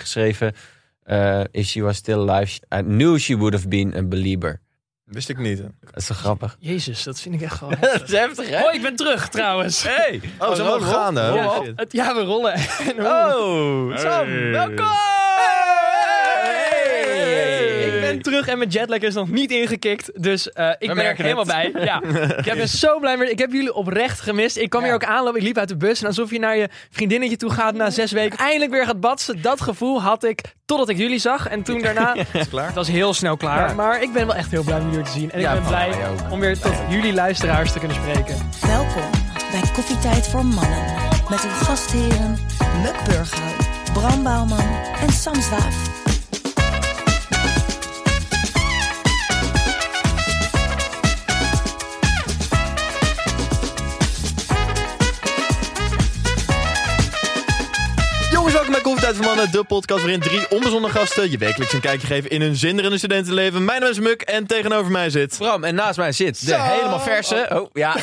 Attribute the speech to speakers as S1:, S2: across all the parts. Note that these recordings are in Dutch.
S1: geschreven. eh, if she was still alive, I knew she would have been a believer.
S2: Wist ik niet. Hè?
S1: Dat is toch grappig?
S3: Jezus, dat vind ik echt gewoon.
S1: Dat is heftig, hè?
S3: Oh, ik ben terug trouwens.
S1: Hey!
S2: Oh, ze mogen gaan, hè?
S3: ja,
S2: Oh,
S3: het- het- ja, we rollen. En hoe-
S1: Oh, Sam, welkom! Oh,
S3: Ik ben terug en mijn jetlag is nog niet ingekikt. Dus eh, ik ben er
S1: merken
S3: helemaal bij. Ja. ik ben zo blij mee. Ik heb jullie oprecht gemist. Ik kwam hier ook aanlopen. Ik liep uit de bus. En alsof je naar je vriendinnetje toe gaat na zes weken. Eindelijk weer gaat batsen. Dat gevoel had ik totdat ik jullie zag. En toen daarna. Het was heel snel klaar. Maar ik ben wel echt heel blij om jullie weer te zien. En ik ben blij om weer tot jullie luisteraars te kunnen spreken.
S4: Welkom bij Koffietijd voor Mannen. Met uw gastheren Muk Burghuis, Bram Bouwman en Sam Zwaaf.
S2: Jongens, welkom bij Koffietijd van Mannen, de podcast waarin drie onbezonnen gasten je wekelijks een kijkje geven in hun zinderende studentenleven. Mijn naam is Muk en tegenover mij zit...
S1: Bram, en naast mij zit de
S2: Sam.
S1: helemaal verse. Oh, ja.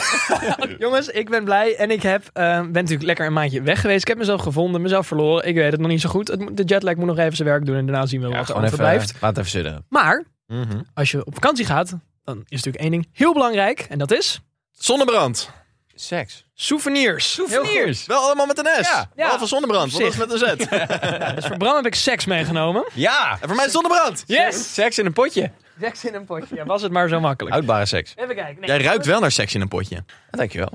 S3: Jongens, ik ben blij en ik heb, eh, ben natuurlijk lekker een maandje weg geweest. Ik heb mezelf gevonden, mezelf verloren. Ik weet het nog niet zo goed. Het moet- de jetlag moet nog even zijn werk doen en daarna zien we wat er overblijft.
S2: eh,
S1: Laat even zitten.
S3: Maar
S2: Mhm.
S3: als je op vakantie gaat, dan is natuurlijk één ding heel belangrijk. En dat is
S2: Zonnebrand.
S1: Seks.
S3: souvenirs. Heel goed.
S1: Souvenirs.
S2: Wel allemaal met een S.
S1: Ja.
S2: Behalve zonnebrand,
S3: Op
S2: want dat is met een Z.
S3: Dus voor Bram heb ik seks meegenomen.
S1: Ja.
S2: en voor mij is zonnebrand.
S3: Yes!
S1: Seks in een potje.
S3: Seks in een potje. Ja, was het maar zo makkelijk.
S1: Houdbare seks.
S3: Even kijken. Nee.
S2: Jij ruikt wel naar seks in een potje.
S1: Dankjewel.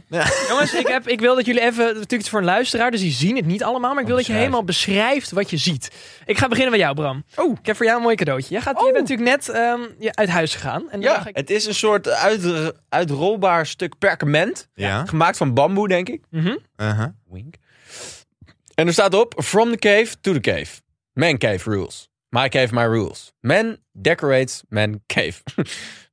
S3: Jongens, ik, heb, ik wil dat jullie even. Natuurlijk het is voor een luisteraar, dus die zien het niet allemaal. Maar ik wil dat je
S1: Beschrijf.
S3: helemaal beschrijft wat je ziet. Ik ga beginnen met jou, Bram. Oh. Ik heb voor jou een mooi cadeautje. Jij gaat, Je bent natuurlijk net ehm, je- uit huis gegaan. En dan
S1: Oh. Ja,
S3: ga ik,
S1: het is een soort uit, uitrolbaar stuk perkament.
S2: Ja.
S1: Gemaakt van bamboe, denk ik.
S3: Mhm.
S2: Uh-huh.
S1: Wink. En er staat op: From the cave to the cave. Man cave rules. My cave, my rules. Man decorates man cave.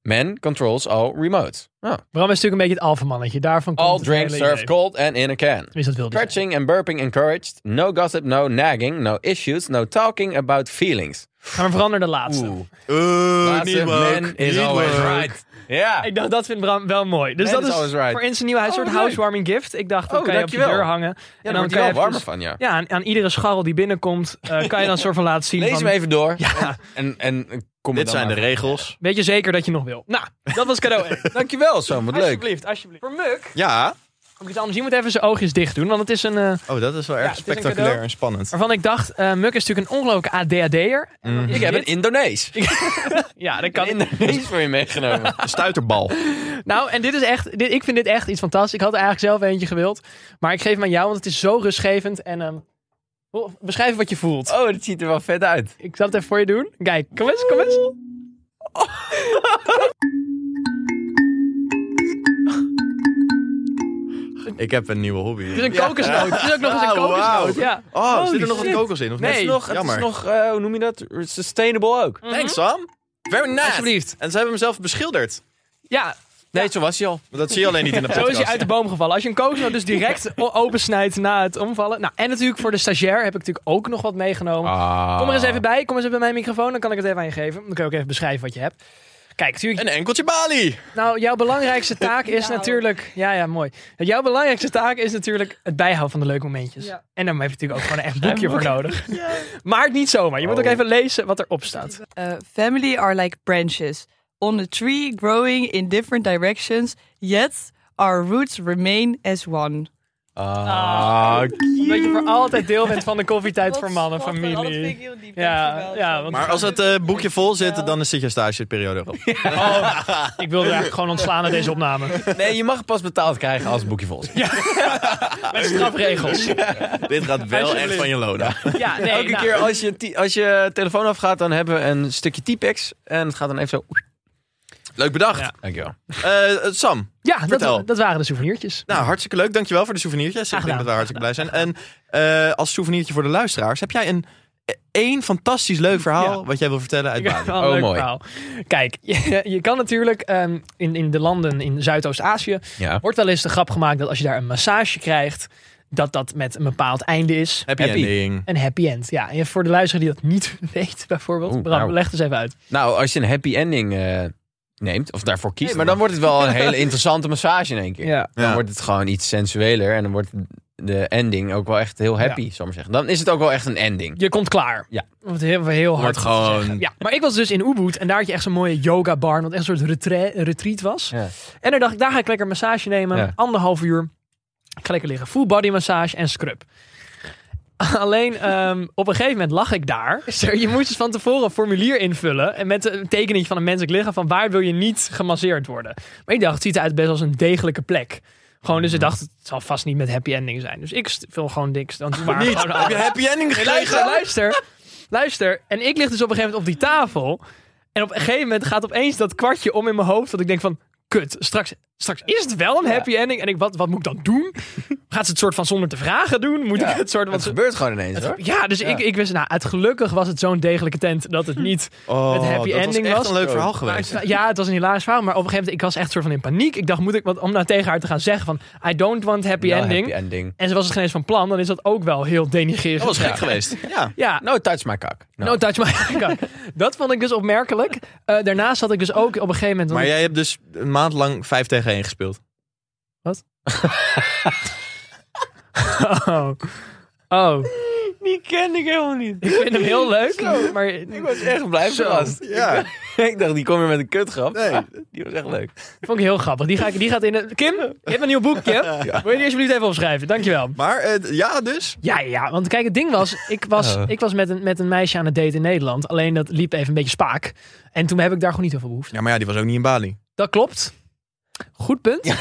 S1: Man controls all remotes. Oh.
S3: Bram is natuurlijk een beetje het alfamannetje. Daarvan komt
S1: All
S3: het
S1: drinks
S3: hele
S1: served
S3: idee.
S1: cold and in a can.
S3: Tenminste, dat wilde hij.
S1: Stretching and burping encouraged. No gossip, no nagging, no issues, no talking about feelings.
S3: Gaan we veranderen de laatste.
S1: Oeh.
S2: Oeh,
S1: Laatste,
S2: niet woke.
S1: man is
S2: niet
S1: always
S2: woke.
S1: right. Ja.
S3: Ik dacht, dat vindt Bram wel mooi. Dus
S1: Man
S3: dat
S1: is
S3: is
S1: always right.
S3: voor eens een nieuw huis,
S1: Oh,
S3: een soort
S1: leuk.
S3: housewarming gift. Ik dacht, dat
S1: Oh,
S3: kan je op je
S1: dankjewel.
S3: deur hangen.
S1: Ja,
S3: en
S1: daar
S3: dan
S1: wordt
S3: kan
S1: hij
S3: je
S1: wel warmer
S3: eventjes-
S1: van, ja.
S3: Ja, aan, aan iedere scharrel die binnenkomt, eh, kan je dan een soort van laten zien
S1: Lees
S3: van...
S1: hem even door.
S3: Ja.
S1: En, en eh, kom er
S2: Dit
S1: dan
S2: zijn de
S1: maar van.
S2: regels.
S3: Weet je zeker dat je nog wil? Nou, dat was cadeau 1.
S1: Dankjewel, Sam. Wat leuk.
S3: Alsjeblieft, alsjeblieft. Voor Muk,
S2: Ja.
S3: moet ik dan anders, je moet even zijn oogjes dicht doen, want het is een... eh,
S2: Oh, dat is wel erg
S3: het is een
S2: spectaculair
S3: cadeau.
S2: en spannend. Mhm.
S3: waarvan ik dacht, eh Muk is natuurlijk een ongelooflijke ADHD'er. En dan is
S1: Ik heb een
S3: dit-
S1: Indonees.
S3: Ja, dat
S1: Een
S3: kan
S1: Indonees voor je meegenomen.
S2: Een stuiterbal.
S3: Nou, en dit is echt, dit, ik vind dit echt iets fantastisch. Ik had er eigenlijk zelf eentje gewild, maar ik geef hem aan jou, want het is zo rustgevend en... ehm, oh, beschrijf wat je voelt.
S1: Oh, dat ziet er wel vet uit.
S3: Ik zal het even voor je doen. Kijk, kom eens, kom eens.
S2: Ik heb een nieuwe hobby.
S3: Het is een kokosnoot. Het is ook nog eens een
S2: Ah, wauw.
S3: kokosnoot. Ja.
S2: Oh,
S3: Holy
S2: zit er nog
S3: shit.
S2: wat kokos in? Of
S3: Nee.
S2: niet?
S1: Het is nog, het
S2: Jammer.
S1: is nog eh, hoe noem je dat? Sustainable ook.
S2: Thanks, Sam. Very nice.
S3: Alsjeblieft.
S2: En ze hebben hem zelf beschilderd.
S3: Ja,
S1: Nee, zo was hij al.
S2: Maar dat zie je alleen niet in de
S3: Zo
S2: podcast.
S3: is hij uit de boom gevallen. Als je een kokosnoot dus direct o- opensnijdt na het omvallen. Nou, en natuurlijk voor de stagiair heb ik natuurlijk ook nog wat meegenomen.
S2: Ah.
S3: Kom er eens even bij. Kom eens even bij mijn microfoon. Dan kan ik het even aan je geven. Dan kun je ook even beschrijven wat je hebt. Kijk, natuurlijk,
S2: Een enkeltje Bali.
S3: nou, jouw belangrijkste taak is natuurlijk... Ja, ja, mooi. Jouw belangrijkste taak is natuurlijk het bijhouden van de leuke momentjes. En daar heb je natuurlijk ook gewoon een echt boekje voor nodig. Maar niet zomaar. Je moet
S2: Oh.
S3: ook even lezen wat erop staat.
S5: Uh, family are like branches on a tree growing in different directions, yet our roots remain as one.
S3: Dat je voor altijd deel bent van de koffietijd voor mannen,
S5: Dat vind
S3: familie.
S5: ik heel diep.
S3: Ja,
S5: Dankjewel,
S3: ja,
S5: Sam.
S3: want
S2: Maar als het eh, boekje vol zit, dan zit je stageperiode erop.
S3: Oh, ik wilde eigenlijk gewoon ontslaan aan deze opname.
S1: Nee, je mag pas betaald krijgen als het boekje vol is.
S3: Met strafregels.
S2: Dit gaat wel echt van je loon af.
S3: Ja, nee,
S1: Elke
S3: nou,
S1: keer als je, ti- als je telefoon afgaat, dan hebben we een stukje T-Pex. En het gaat dan even zo.
S2: Leuk bedacht.
S3: Ja.
S1: Dankjewel.
S2: Eh, eh, Sam,
S3: Ja,
S2: Vertel.
S3: dat, dat waren de souvenirtjes.
S2: nou hartstikke leuk. Dankjewel voor de souvenirtjes. Ik
S3: Graag
S2: denk dat we
S3: gedaan.
S2: hartstikke blij zijn. En eh, als souvenirtje voor de luisteraars, heb jij een één fantastisch leuk verhaal
S3: Ja.
S2: wat jij wil vertellen uit
S3: Ja,
S2: Bali.
S3: wel een
S1: Oh,
S3: leuk
S1: mooi.
S3: verhaal. Kijk, je, je kan natuurlijk ehm, in, in de landen in Zuidoost-Azië.
S1: Ja.
S3: wordt wel eens de grap gemaakt dat als je daar een massage krijgt. dat dat met een bepaald einde is.
S2: Happy, ending.
S3: Een happy end. Ja, en voor de luisteraar die dat niet weet, bijvoorbeeld.
S1: Oeh,
S3: Bram,
S1: nou.
S3: leg het eens even uit.
S1: Nou, als je een happy ending eh, neemt, of daarvoor kiest, maar dan wordt het wel een hele interessante massage in één keer.
S3: Ja.
S1: Dan
S2: Ja.
S1: wordt het gewoon iets sensueler en dan wordt de ending ook wel echt heel happy, zal ik maar zeggen. Dan is het ook wel echt een ending.
S3: Je komt klaar.
S1: Ja.
S3: Om het heel, heel hard
S2: Wordt
S3: te
S2: gewoon-
S3: zeggen. Ja, maar ik was dus in Ubud en daar had je echt zo'n mooie yoga bar. Wat echt een soort retra- retreat was.
S1: Ja.
S3: En dan dacht ik, daar ga ik lekker massage nemen.
S1: Ja.
S3: Anderhalf uur. Ik ga lekker liggen. Full body massage en scrub. Alleen ehm, op een gegeven moment lag ik daar. Zo, Je moest dus van tevoren een formulier invullen. En met een tekening van een menselijk lichaam. Van waar wil je niet gemasseerd worden. Maar ik dacht, het ziet eruit best als een degelijke plek. Gewoon, dus ik
S2: Mhm.
S3: dacht, het zal vast niet met happy ending zijn. Dus ik st- vul gewoon niks. Dan doe maar gewoon
S2: Heb je happy ending
S3: Nee, luister,
S2: gekregen?
S3: luister. Luister. En ik lig dus op een gegeven moment op die tafel. En op een gegeven moment gaat opeens dat kwartje om in mijn hoofd. Dat ik denk van, kut, straks, straks is het wel een happy ending. En ik, wat, wat moet ik dan doen? Gaat ze het soort van zonder te vragen doen? Moet ik het soort van...
S1: Het gebeurt gewoon ineens hoor.
S3: Ja, dus Ik, ik wist, nou, het gelukkig was het zo'n degelijke tent dat het niet...
S2: Oh,
S3: Het happy
S2: dat
S3: ending
S2: was echt
S3: was-
S2: een leuk verhaal
S3: Maar
S2: geweest.
S3: het- ja, het was een hilarisch verhaal, maar op een gegeven moment, ik was echt soort van in paniek. Ik dacht, moet ik, want om nou tegen haar te gaan zeggen van, I don't want happy
S1: Wel
S3: ending.
S1: happy ending.
S3: En ze was het geen eens van plan, dan is dat ook wel heel denigrerend.
S2: Dat was gek geweest. Ja.
S3: Ja,
S1: No touch my cock. No.
S3: No touch my cock. Dat vond ik dus opmerkelijk. Eh, daarnaast had ik dus ook op een gegeven moment...
S2: Maar jij hebt dus een maand lang 5 tegen 1 gespeeld.
S3: Oh. oh.
S1: Die ken ik helemaal niet.
S3: Ik vind hem heel leuk, maar...
S1: Ik was echt blij
S3: Zo.
S1: verrast.
S2: Ja.
S1: Ik dacht, die kom je met een kutgrap.
S2: Nee.
S1: Ah, Die was echt leuk.
S3: Vond ik heel grappig. Die, ga ik, die gaat in de... Kim, je hebt een nieuw boek, Kim. Wil je die alsjeblieft even opschrijven? Dankjewel.
S2: Maar eh, ja, dus.
S3: Ja, ja, ja, want kijk, het ding was, ik was,
S1: Eh.
S3: ik was met, een, met een meisje aan het daten in Nederland. Alleen dat liep even een beetje spaak. En toen heb ik daar gewoon niet heel veel behoefte.
S2: Ja, maar ja, die was ook niet in Bali.
S3: Dat klopt. Goed punt.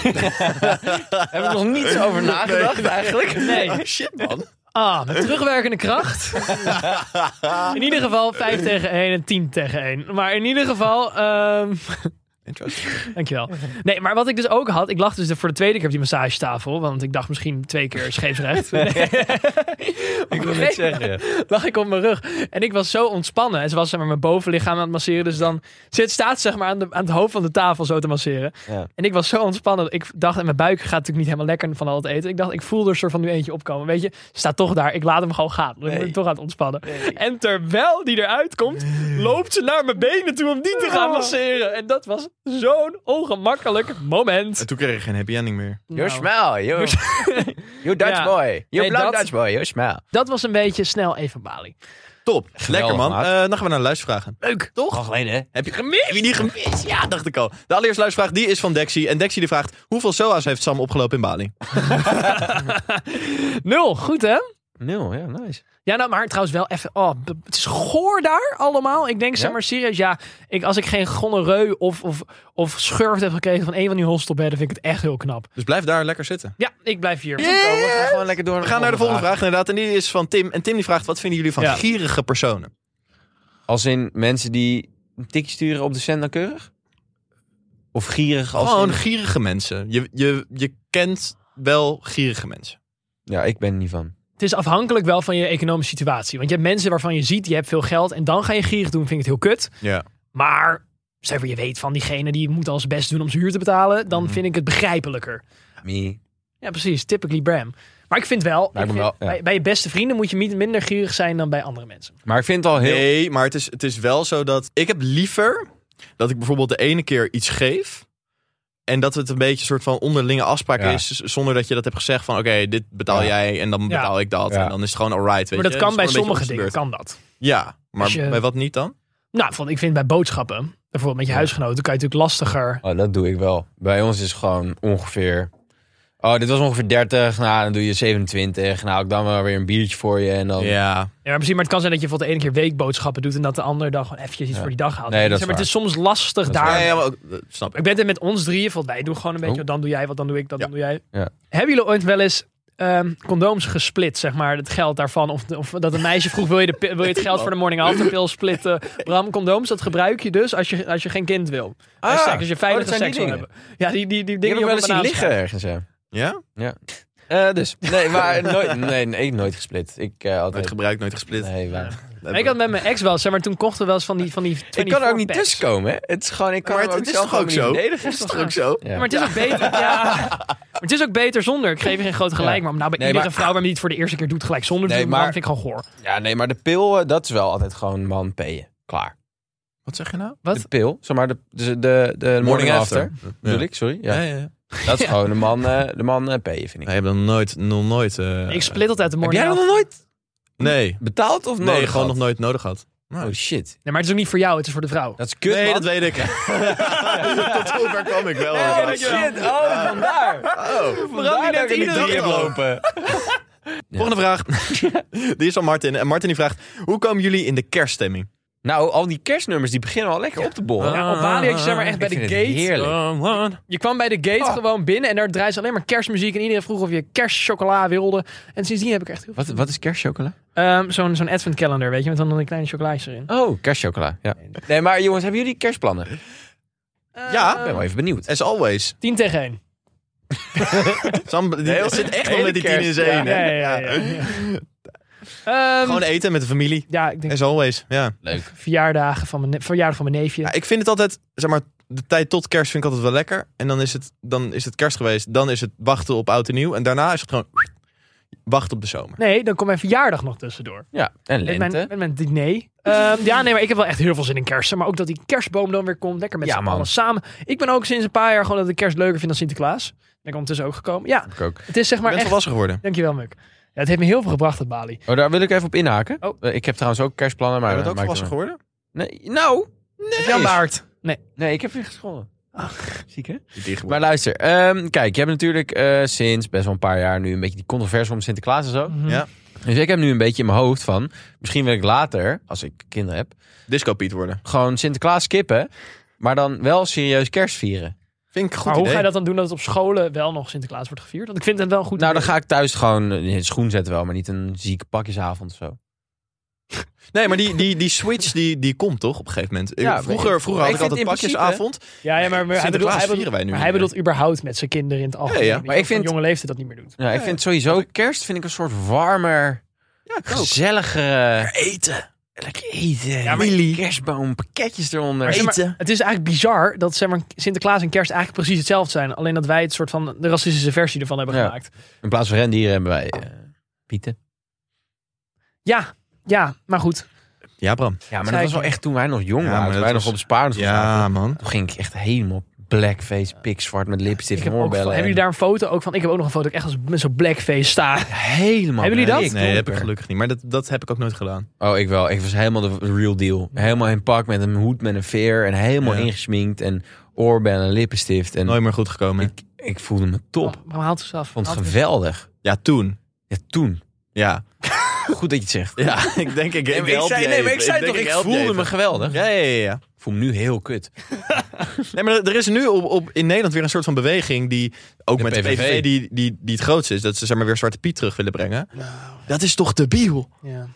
S1: Heb ik nog niet zo over nagedacht eigenlijk.
S3: Nee.
S2: Shit, man.
S3: Ah, met terugwerkende kracht. In ieder geval 5 tegen 1 en 10 tegen 1. Maar in ieder geval. ehm,
S2: Interesting.
S3: dankjewel. Nee, maar wat ik dus ook had. Ik lag dus voor de tweede keer op die massagetafel. Want ik dacht misschien twee keer scheepsrecht. Nee.
S1: Ik wil niet zeggen.
S3: lag ik op mijn rug. En ik was zo ontspannen. En ze was zeg maar, mijn bovenlichaam aan het masseren. Dus dan zit, staat ze zeg maar, aan, de, aan het hoofd van de tafel zo te masseren.
S1: Ja.
S3: En ik was zo ontspannen. dat Ik dacht, en mijn buik gaat natuurlijk niet helemaal lekker van al het eten. Ik dacht, ik voel er soort van nu eentje opkomen. Weet je, ze staat toch daar. Ik laat hem gewoon gaan. Ik ben toch aan het ontspannen. En terwijl die eruit komt, loopt ze naar mijn benen toe om die te gaan masseren. En dat was zo'n ongemakkelijk moment.
S2: En toen kreeg ik geen happy ending meer.
S1: You
S3: Nou,
S1: smell. You, you Dutch
S3: Ja.
S1: boy. You
S3: Nee,
S1: blond
S3: dat-
S1: Dutch boy. You smell.
S3: dat was een beetje snel even Bali.
S2: Top. Lekker, man.
S1: maat.
S2: Eh, dan gaan we naar de luistervragen.
S3: Leuk.
S2: Toch?
S1: alleen hè?
S2: Heb je gemist? Heb je die gemist? Ja, dacht ik al. De allereerste luistervraag die is van Dexy. En Dexy die vraagt, hoeveel SOA's heeft Sam opgelopen in Bali?
S3: Nul. Goed hè?
S1: Nul, ja, nice.
S3: Ja, nou, maar trouwens wel even. Oh, b- het is goor daar allemaal. Ik denk, zeg
S1: Ja?
S3: maar serieus, ja. Ik, als ik geen gonoreu of, of, of schurft heb gekregen van een van die hostelbedden, vind ik het echt heel knap.
S2: Dus blijf daar lekker zitten.
S3: Ja, ik blijf hier.
S1: we gaan gewoon lekker door.
S2: We gaan naar de volgende vraag inderdaad. En die is van Tim. En Tim die vraagt, wat vinden jullie van
S3: Ja.
S2: gierige personen?
S1: Als in mensen die een tikje sturen op de cent nauwkeurig? Of gierig als
S2: Gewoon
S1: in-
S2: gierige mensen. Je, je, je kent wel gierige mensen.
S1: Ja, ik ben er niet van.
S3: Het is afhankelijk wel van je economische situatie. Want je hebt mensen waarvan je ziet, je hebt veel geld en dan ga je gierig doen, vind ik het heel kut.
S2: Ja.
S3: Maar, zeg maar, je weet van diegene die moet al zijn best doen om zijn huur te betalen, dan vind ik het begrijpelijker.
S1: Me.
S3: Ja, precies. Typically Bram. Maar ik vind wel, ik
S1: Lijkt me
S3: vind-
S1: wel, ja.
S3: bij, bij je beste vrienden moet je niet minder gierig zijn dan bij andere mensen.
S1: Maar ik vind het al heel...
S2: Nee, maar het is, het is wel zo dat... Ik heb liever dat ik bijvoorbeeld de ene keer iets geef... En dat het een beetje een soort van onderlinge afspraak
S1: Ja.
S2: is. z- Zonder dat je dat hebt gezegd van... Oké, dit betaal
S1: Ja.
S2: jij en dan
S3: Ja.
S2: betaal ik dat.
S1: Ja.
S2: En dan is het gewoon alright. weet
S3: Maar dat
S2: je.
S3: kan bij
S2: Het is gewoon een
S3: sommige
S2: beetje
S3: dingen, kan
S2: op
S3: dat.
S2: z'n beurt. Ja, maar
S3: Als je-
S2: bij wat niet dan?
S3: Nou, van, ik vind bij boodschappen, bijvoorbeeld met je huisgenoten, kan je natuurlijk lastiger.
S1: Oh, dat doe ik wel. Bij ons is gewoon ongeveer... Oh, dit was ongeveer 30. Nou, dan doe je 27. Nou, ik dan wel weer een biertje voor je. En dan...
S2: Ja,
S3: Ja, maar misschien, maar het kan zijn dat je bijvoorbeeld de ene keer weekboodschappen doet en dat de andere dag gewoon eventjes iets voor die dag haalt.
S1: Nee, dat is
S3: Zeg maar, het is
S1: waar.
S3: soms lastig
S1: Dat is
S3: daar.
S2: Ja, ja, maar ook- dat snap ik.
S3: Ik ben het met ons drieën, want wij doen gewoon een beetje,
S1: Oh.
S3: dan doe jij wat, dan doe ik dat,
S2: Ja.
S3: dan doe jij.
S1: Ja.
S3: Hebben jullie ooit wel eens ehm, condooms gesplit, zeg maar, het geld daarvan? Of, of dat een meisje vroeg, wil je, de, pi- wil je het geld voor de morning after pill splitten? Bram, condooms, dat gebruik je dus als je, als je geen kind wil. Als je- als je
S1: oh,
S3: veilige
S1: dat zijn die
S3: seks wil
S1: dingen.
S3: hebben. Ja, die, die, die
S1: Ik heb
S3: dingen
S1: hem
S3: die
S1: wel
S3: op
S1: eens
S3: een
S1: zien
S3: banaan
S1: liggen ergens, ja.
S2: Ja?
S1: Ja. Eh, dus. Nee, maar nooit, nee, nee, ik nooit gesplit. Ik eh
S2: Nooit
S1: altijd...
S2: gebruikt, nooit gesplit.
S1: Nee, waar.
S3: Maar ik had met mijn ex wel, zeg maar, toen kochten we wel eens van die van die
S1: Ik kan er ook niet
S3: 24 packs.
S1: tussenkomen, hè. Het is gewoon... Ik kan
S2: Maar
S1: hem
S2: het-
S1: ook
S2: het is
S1: zelf
S2: toch ook
S1: niet
S2: zo?
S1: verdedigen.
S2: Is toch ook zo?
S1: Ja.
S3: Ja, maar het is ook beter. Ja. Maar het is ook beter zonder. Ik geef je geen groot gelijk,
S1: Ja.
S3: maar om nou bij
S1: Nee,
S3: iedere
S1: maar-
S3: vrouw waarmee je het voor de eerste keer doet gelijk zonder te
S1: Nee,
S3: doen, dan
S1: maar-
S3: vind ik gewoon goor.
S1: Ja, nee, maar de pil, eh, dat is wel altijd gewoon man peeën. Klaar.
S2: Wat zeg je nou?
S3: Wat?
S1: De pil, zeg maar de, dus de, de, morning, after, bedoel ik, sorry. Ja.
S2: Ja, ja. ja.
S1: Dat is gewoon de man, eh, de man eh, peeën, vind ik.
S2: Nee, je hebt dan nooit, nog nooit... eh,
S3: ik split altijd de
S1: Heb
S3: morning
S1: jij dat
S3: after.
S1: nog nooit
S2: Nee,
S1: betaald of
S2: nee
S1: nodig
S2: gewoon nog
S1: gehad?
S2: nooit nodig gehad. nooit.
S1: Oh shit,
S3: Nee, maar het is ook niet voor jou, het is voor de vrouw.
S1: dat is kut
S2: nee,
S1: man.
S2: dat weet ik. Tot zover kwam ik wel.
S1: Oh
S2: inderdaad.
S1: shit, oh vandaar.
S3: Waarom
S1: Vandaar dat ik
S3: iedere
S1: Oh. niet
S3: keer
S1: heb lopen.
S2: Volgende vraag. die is van Martin. En Martin die vraagt, hoe komen jullie in de kerststemming?
S1: Nou, al die kerstnummers die beginnen al lekker op te borrelen.
S3: Ja, op Bali had je zeg maar
S1: Ah,
S3: echt
S1: Ik
S3: bij de
S1: vind
S3: gate.
S1: het heerlijk. Oh.
S3: Je kwam bij de gate gewoon binnen en daar draaide ze alleen maar kerstmuziek. En iedereen vroeg of je kerstchocola wilde. En sindsdien heb ik echt heel
S1: Wat, wat is kerstchocola?
S3: veel. Ehm, Zo'n zo'n advent calendar, weet je, met dan een kleine chocolaatjes erin.
S1: Oh, kerstchocola, ja. Nee, maar jongens, hebben jullie kerstplannen? Ik
S2: ja,
S1: ben wel even benieuwd.
S2: as always.
S3: 10 Ehm, tegen 1.
S2: Sam die
S1: Heel-
S2: zit echt
S1: hele
S2: wel met die tien in
S1: kerst,
S2: zijn
S1: ja.
S2: één, hè?
S3: Ja, ja, ja, ja. Ehm,
S2: Gewoon eten met de familie.
S3: ja, ik denk
S2: As always, ja.
S3: verjaardagen van mijn, ne- verjaardag van mijn neefje.
S2: ja. Ik vind het altijd, zeg maar, de tijd tot kerst vind ik altijd wel lekker. En dan is het, dan is het kerst geweest. Dan is het wachten op oud en nieuw. En daarna is het gewoon wachten op de zomer.
S3: Nee, dan komt mijn verjaardag nog tussendoor.
S1: Ja, en
S3: Met mijn,
S1: lente.
S3: met mijn diner. Ehm, ja, nee, maar ik heb wel echt heel veel zin in kerst. Maar ook dat die kerstboom dan weer komt. Lekker met
S1: Ja,
S3: z'n
S1: man.
S3: allen samen. Ik ben ook sinds een paar jaar gewoon dat ik kerst leuker vind dan Sinterklaas. Ben ik ondertussen ook gekomen. Ja,
S1: Ik ook.
S3: het is zeg
S2: Ik
S3: maar
S2: ben
S3: echt...
S2: volwassen geworden.
S3: Dankjewel, Muk. Ja, het heeft me heel veel gebracht, dat Bali.
S1: Oh, daar wil ik even op inhaken.
S3: Oh.
S1: Eh, Ik heb trouwens ook kerstplannen, maar...
S2: Ben je
S1: dat
S2: ook volwassen geworden?
S1: Nee, nou...
S3: Heb jij een baard? Nee.
S1: Nee, ik heb weer gescholden. Ah, Ziek, hè?
S2: Maar
S1: Maar luister, ehm, kijk, je hebt natuurlijk eh, sinds best wel een paar jaar nu een beetje die controverse om Sinterklaas en zo.
S3: Mhm.
S2: Ja.
S1: Dus ik heb nu een beetje in mijn hoofd van, misschien wil ik later, als ik kinderen heb,
S2: Disco Piet worden.
S1: gewoon Sinterklaas skippen, maar dan wel serieus kerst vieren.
S2: Vind ik een goed
S3: Maar hoe
S2: idee.
S3: ga je dat dan doen dat het op scholen wel nog Sinterklaas wordt gevierd? Want ik vind het wel een goed.
S1: Nou, dan
S3: idee.
S1: ga ik thuis gewoon een schoen zetten wel, maar niet een zieke pakjesavond of zo.
S2: Nee, maar die, die, die switch die, die komt toch op een gegeven moment.
S1: Ja,
S2: vroeger,
S1: maar
S2: vroeger had
S1: ik
S2: ik
S1: vind
S2: altijd
S1: in principe-
S2: pakjesavond.
S3: Ja, ja, maar, maar hij bedoelt, hij bedoelt,
S2: vieren wij nu
S3: maar hij
S2: niet meer.
S3: bedoelt überhaupt met zijn kinderen in het algemeen.
S2: ja,
S3: niet.
S1: maar ik
S3: Of van
S1: vind-
S3: jonge leeftijd dat niet meer doet.
S1: Ja, ik vind sowieso, kerst vind ik een soort warmer, gezelligere... Eten. Lekker eten. Ja,
S3: maar-
S1: Kerstboom, pakketjes eronder.
S3: Maar zeg maar,
S2: Eten.
S3: het is eigenlijk bizar dat zeg maar, Sinterklaas en kerst eigenlijk precies hetzelfde zijn. Alleen dat wij het soort van de racistische versie ervan hebben
S1: Ja.
S3: gemaakt.
S1: In plaats van rendieren hebben wij eh, pieten.
S3: Ja, ja, maar goed.
S2: Ja, Bram.
S1: Ja, maar dat
S3: Zeker.
S1: was wel echt toen wij nog jong
S2: Ja, maar
S1: waren.
S2: dat
S1: Toen wij
S2: was-
S1: nog op Spaarns
S2: Ja, man.
S1: Toen ging ik echt helemaal blackface, pikzwart met lipstick
S3: Ik
S1: en
S3: heb ook,
S1: oorbellen.
S3: hebben jullie daar een foto ook van? Ik heb ook nog een foto dat ik echt als, met zo'n blackface sta.
S1: en- helemaal
S3: Hebben jullie dat?
S1: blik,
S2: Nee, dat heb ik
S1: donker.
S2: gelukkig niet. Maar dat, dat heb ik ook nooit gedaan.
S1: Oh, ik wel. Ik was helemaal de real deal. Helemaal in pak met een hoed met een veer en helemaal
S2: Ja.
S1: ingesminkt en oorbellen en lippenstift. En
S2: Nooit meer goed gekomen.
S1: ik, ik voelde me top.
S3: Maar haalt het eens af.
S1: Ik vond het
S3: Haalt het
S1: geweldig.
S2: Ja, toen.
S1: Ja, toen.
S2: Ja.
S1: Goed dat je het zegt.
S2: Ja, ik denk ik,
S1: Nee,
S2: ik
S1: maar ik
S2: help
S1: zei,
S2: je
S1: nee, maar ik
S2: even.
S1: zei
S2: denk,
S1: toch, ik
S2: help je
S1: voelde
S2: even.
S1: me geweldig.
S2: Ja, ja, ja, ja.
S1: Ik voel me nu heel kut.
S2: Nee, maar er is nu op, op, in Nederland weer een soort van beweging die, ook
S1: De
S2: met de
S1: PVV.
S2: PVV, die, die, die het grootste is. Dat ze zeg maar weer Zwarte Piet terug willen brengen.
S1: Nou.
S2: Dat is toch debiel?
S3: af. Ja.
S2: Dat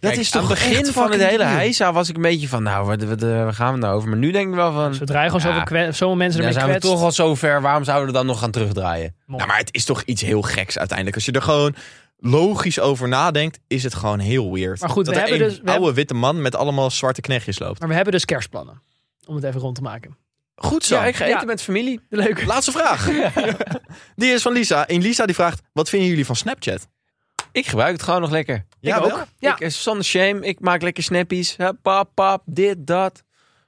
S1: Kijk,
S2: is toch
S1: aan het begin
S2: echt
S1: van het
S2: fucking
S1: hele
S2: debiel?
S1: heisa was ik een beetje van, nou, wat, wat, eh, waar gaan we nou over? Maar nu denk ik wel van,
S3: Zodra je gewoon
S1: Ja.
S3: zoveel, kwe- zoveel mensen
S1: dan
S3: ermee
S1: zijn we
S3: kwetst.
S1: toch al zo ver, waarom zouden we dan nog gaan terugdraaien?
S2: Nou, maar het is toch iets heel geks uiteindelijk. Als je er gewoon logisch over nadenkt, is het gewoon heel weird.
S3: Maar goed,
S2: dat
S3: we
S2: er
S3: hebben
S2: een
S3: dus- we
S2: oude witte man met allemaal zwarte knechtjes loopt.
S3: Maar we hebben dus kerstplannen. Om het even rond te maken.
S2: Goed zo.
S1: Ja, ik ga eten
S3: Ja.
S1: met familie.
S3: De leuke.
S2: Laatste vraag. Die is van Lisa. En Lisa die vraagt, wat vinden jullie van Snapchat?
S1: Ik gebruik het gewoon nog lekker.
S2: Ja,
S3: ik
S2: wel?
S3: ook. Ja.
S1: Ik, eh, zonder shame, ik maak lekker snappies. Hè, Pap, pap, dit, dat.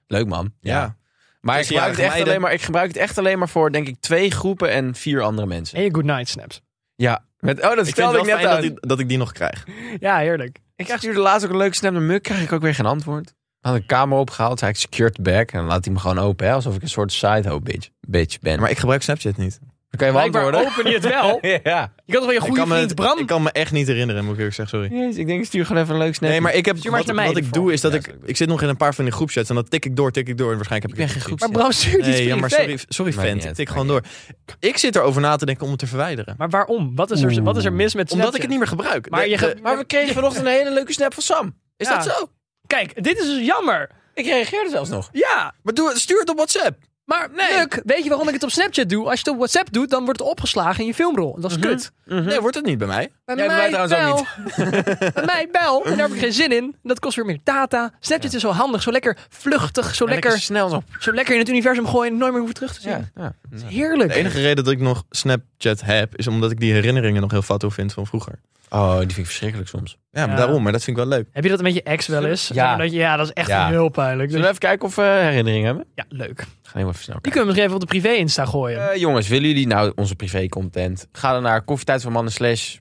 S1: Leuk man. Ja.
S2: Ja.
S1: Maar, ik
S2: Tussenjarige
S1: gebruik het echt
S2: meiden.
S1: alleen maar ik gebruik het echt alleen maar voor, denk ik, twee groepen en vier andere mensen.
S3: En je good night snaps.
S1: Ja. Met, oh, dat
S2: Ik vind
S1: vertelde ik
S2: het wel
S1: net
S2: fijn dat
S1: uit. Ik,
S2: ik, dat ik die nog krijg.
S3: Ja, heerlijk.
S1: stuurde laatst ook een leuke snap naar Muk, krijg ik ook weer geen antwoord. Had een kamer opgehaald, zei ik secured back. En dan laat hij me gewoon open, hè, alsof ik een soort side-ho bitch, bitch ben.
S2: Maar ik gebruik Snapchat niet.
S1: dan kan je wel
S3: Blijkbaar
S1: antwoorden.
S3: open je het wel.
S1: ja.
S3: Je kan toch wel je goede
S2: ik, kan
S3: vriend
S2: me,
S3: Bram...
S2: ik kan me echt niet herinneren, moet ik eerlijk zeggen, sorry.
S1: Jezus, ik denk ik stuur gewoon even een leuk snap.
S2: Nee, maar ik heb,
S3: Stuur maar
S2: wat,
S3: naar mij
S2: wat ik
S3: ervoor.
S2: doe is dat
S1: Ja,
S2: ik...
S1: is leuk.
S2: Ik zit nog in een paar van die groepchats en dan tik ik door, tik ik door. En waarschijnlijk
S1: Ik
S2: heb
S1: ben
S2: ik...
S1: geen
S2: het niet
S1: groepschat.
S3: Maar Bram stuurt iets
S2: Nee, ja, maar
S3: privé.
S2: sorry, sorry
S1: Maakt niet
S2: vent.
S1: uit,
S2: Ik tik
S1: maakt
S2: gewoon door. Ik zit erover na te denken om het te verwijderen.
S3: Maar waarom? Wat is er, wat is er mis met Snapchat?
S2: Omdat ik het niet meer gebruik.
S3: Maar
S2: De-
S3: je ge-
S2: de-
S1: Maar we kregen vanochtend een hele leuke snap van Sam. Eh, Is
S3: Ja.
S1: dat zo?
S3: Kijk, dit is dus jammer.
S1: Ik reageerde zelfs nog.
S3: Ja.
S2: maar doe, het- stuur het op WhatsApp.
S3: Maar Muk, weet je waarom ik het op Snapchat doe? Als je het op WhatsApp doet, dan wordt het opgeslagen in je filmrol. Dat is kut.
S1: Nee, wordt het niet bij mij.
S3: Bij
S1: Mhm. Ja, bij mij trouwens ook
S3: niet. bij mij wel. En daar heb ik geen zin in. Dat kost weer meer data. Snapchat is zo handig, zo lekker vluchtig, zo, lekker,
S1: snel zo.
S3: zo lekker in het universum gooien en nooit meer hoeven terug te zien.
S1: Ja, ja.
S3: Dat is heerlijk.
S2: De enige reden dat ik nog Snapchat heb, is omdat ik die herinneringen nog heel fatsoen vind van vroeger.
S1: Oh, die vind ik verschrikkelijk soms.
S2: Ja,
S3: Ja.
S2: maar daarom. Maar dat vind ik wel leuk.
S3: Heb je dat met je ex wel eens?
S1: Ja.
S3: Dat, je- ja, dat is echt
S1: Ja.
S3: heel pijnlijk. Dus-
S1: Zullen we even kijken of we herinneringen hebben?
S3: Ja, leuk.
S1: Ga even snel
S3: Die kunnen we misschien even op de privé-insta gooien.
S1: Eh, jongens, willen jullie nou onze privé-content? Ga dan naar koffietijdvanmannen slash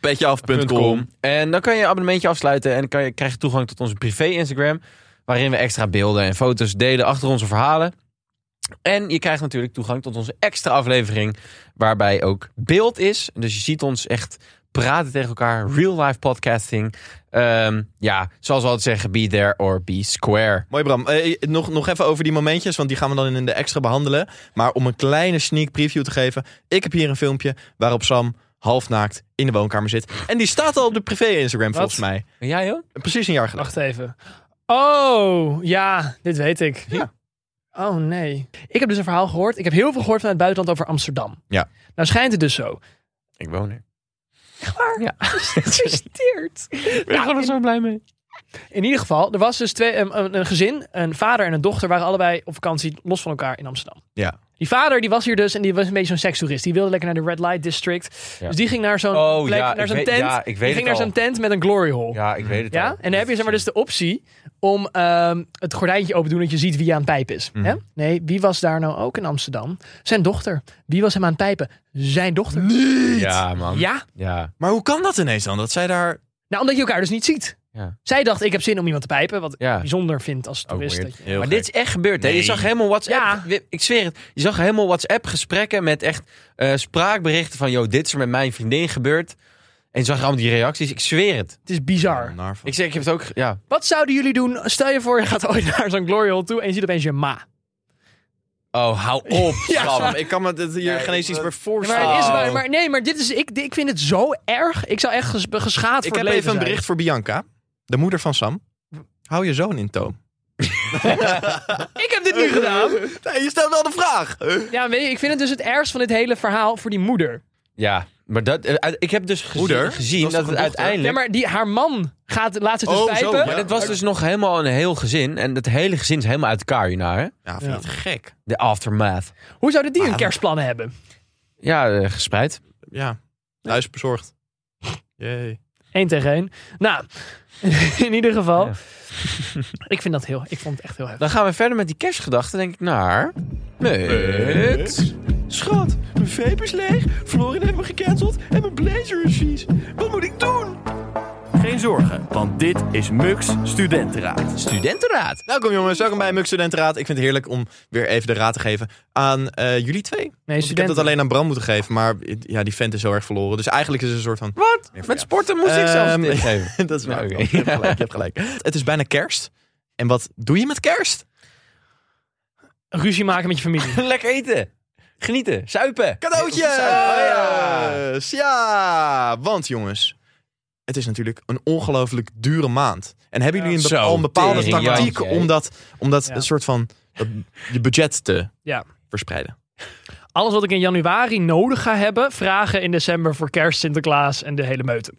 S2: Petjeaf.com.
S1: En dan kan je een abonnementje afsluiten en dan kan je, krijg je toegang tot onze privé-Instagram. Waarin we extra beelden en foto's delen achter onze verhalen. En je krijgt natuurlijk toegang tot onze extra aflevering. Waarbij ook beeld is. Dus je ziet ons echt praten tegen elkaar. Real life podcasting. Ehm, ja, zoals we altijd zeggen, be there or be square.
S2: Mooi Bram. Eh, nog, nog even over die momentjes, want die gaan we dan in de extra behandelen. Maar om een kleine sneak preview te geven. Ik heb hier een filmpje waarop Sam halfnaakt in de woonkamer zit. En die staat al op de privé-Instagram volgens mij.
S1: En jij joh?
S2: Precies een jaar geleden.
S3: Wacht even. Oh, ja, dit weet ik.
S2: Ja.
S3: Oh nee. Ik heb dus een verhaal gehoord. Ik heb heel veel gehoord vanuit het buitenland over Amsterdam.
S2: Ja.
S3: Nou schijnt het dus zo.
S1: Ik woon er.
S3: Gefeliciteerd.
S1: Ik ben er zo blij mee.
S3: In ieder geval, er was dus twee, een, een- een gezin, een vader en een dochter, waren allebei op vakantie los van elkaar in Amsterdam.
S2: Ja.
S3: Die vader die was hier dus en die was een beetje zo'n sekstoerist. Die wilde lekker naar de Red Light District.
S1: Ja.
S3: Dus die ging naar zo'n
S1: Oh,
S3: plek,
S1: ja,
S3: naar
S1: ik
S3: zo'n
S1: weet-
S3: tent.
S1: ja, ik weet
S3: die ging
S1: het
S3: naar
S1: al.
S3: zo'n tent met een glory hole.
S1: Ja, ik weet het
S3: Ja,
S1: al.
S3: en dan heb je zeg maar dus de optie om ehm, het gordijntje open te doen dat je ziet wie aan het pijpen is.
S1: Mhm.
S3: Hè? Nee, wie was daar nou ook in Amsterdam? Zijn dochter. Wie was hem aan het pijpen? Zijn dochter.
S1: Ja, man.
S3: Ja,
S1: Ja.
S2: Maar hoe kan dat ineens dan? Dat zij daar...
S3: nou omdat je elkaar dus niet ziet.
S1: Ja.
S3: Zij dacht, ik heb zin om iemand te pijpen, wat ik
S1: Ja.
S3: bijzonder vind als
S1: Ook
S3: toerist.
S1: weird.
S3: dat je-
S2: Heel
S1: maar dit is echt gebeurd. Hè? Je
S2: Nee.
S1: zag helemaal WhatsApp.
S3: Ja.
S1: we- Ik zweer het. Je zag helemaal WhatsApp gesprekken met echt eh, spraakberichten van, yo, dit is er met mijn vriendin gebeurd. En je zag allemaal die reacties. Ik zweer het.
S3: Het is bizar.
S2: bizar.
S1: Ik zeg, ik heb het ook. ge- Ja.
S3: Wat zouden jullie doen? Stel je voor, je gaat ooit naar zo'n glory hole toe en je ziet opeens je ma.
S1: Oh, hou op. Sam.
S2: Ik kan me dit hier geen eens iets meer
S3: Maar,
S2: voorstellen.
S3: het is, waar-
S1: Oh.
S3: maar nee, maar dit is, ik, ik vind het zo erg. Ik zou echt ges- geschaad
S2: Ik
S3: voor
S2: heb
S3: het leven
S2: even een
S3: zijn.
S2: bericht voor Bianca, de moeder van Sam. Hou je zoon in toom.
S3: Ik heb dit nu gedaan.
S2: je stelt wel de vraag.
S3: Ja, weet je, ik vind het dus het ergst van dit hele verhaal voor die moeder.
S1: Ja. Maar dat, eh, uit- ik heb dus gezi-
S2: Moeder?
S1: gezien
S2: Dat
S1: dat,
S2: was toch
S1: het
S2: een dochter?
S1: uiteindelijk...
S3: eh? Ja, maar die, haar man gaat, laat ze dus
S2: Oh, zo,
S3: pijpen.
S2: ja.
S1: Maar dit was dus nog helemaal een heel gezin. En het hele gezin is helemaal uit elkaar hierna, hè?
S2: Ja, vind
S3: Ja.
S2: het gek.
S1: De aftermath.
S3: Hoe zouden die hun kerstplannen hebben?
S1: Ja, eh, gespreid.
S2: Ja, thuisbezorgd. Jee.
S3: Eén tegen één. Nou, in ieder geval.
S1: Ja.
S3: ik vind dat heel, ik vond het echt heel heftig.
S2: Nou,
S1: Dan gaan we verder met die kerstgedachten, denk ik, naar... Mut.
S6: Schat, mijn vape is leeg, Florin heeft me gecanceld en mijn blazer is vies. Wat moet ik doen? Geen zorgen, want dit is Mux Studentenraad.
S1: Studentenraad.
S2: Welkom jongens, welkom bij MUG Studentenraad. Ik vind het heerlijk om weer even de raad te geven aan eh, jullie twee. Want
S3: Nee,
S2: Ik heb dat
S3: studenten.
S2: alleen aan Bram moeten geven, maar eh, ja, die vent is heel erg verloren. Dus eigenlijk is het een soort van...
S1: Wat? Met sporten moest ik zelfs
S2: Ehm,
S1: dit geven.
S2: dat is waar.
S1: Ja, oké.
S2: Bram. Je hebt gelijk, je hebt gelijk. Het is bijna kerst. En wat doe je met kerst?
S3: Ruzie maken met je familie.
S1: Lekker eten. Genieten. Suipen.
S2: Cadeautjes!
S1: Oh, Ja.
S2: Ja, want jongens, het is natuurlijk een ongelooflijk dure maand. En hebben jullie een bepa-
S1: Zo,
S2: al een bepaalde
S1: tering,
S2: tactiek
S1: jantje, hè?
S2: om dat, om dat
S3: Ja.
S2: een soort van dat- je budget te
S3: Ja.
S2: verspreiden?
S3: Alles wat ik in januari nodig ga hebben, vragen in december voor kerst, Sinterklaas en de hele meute.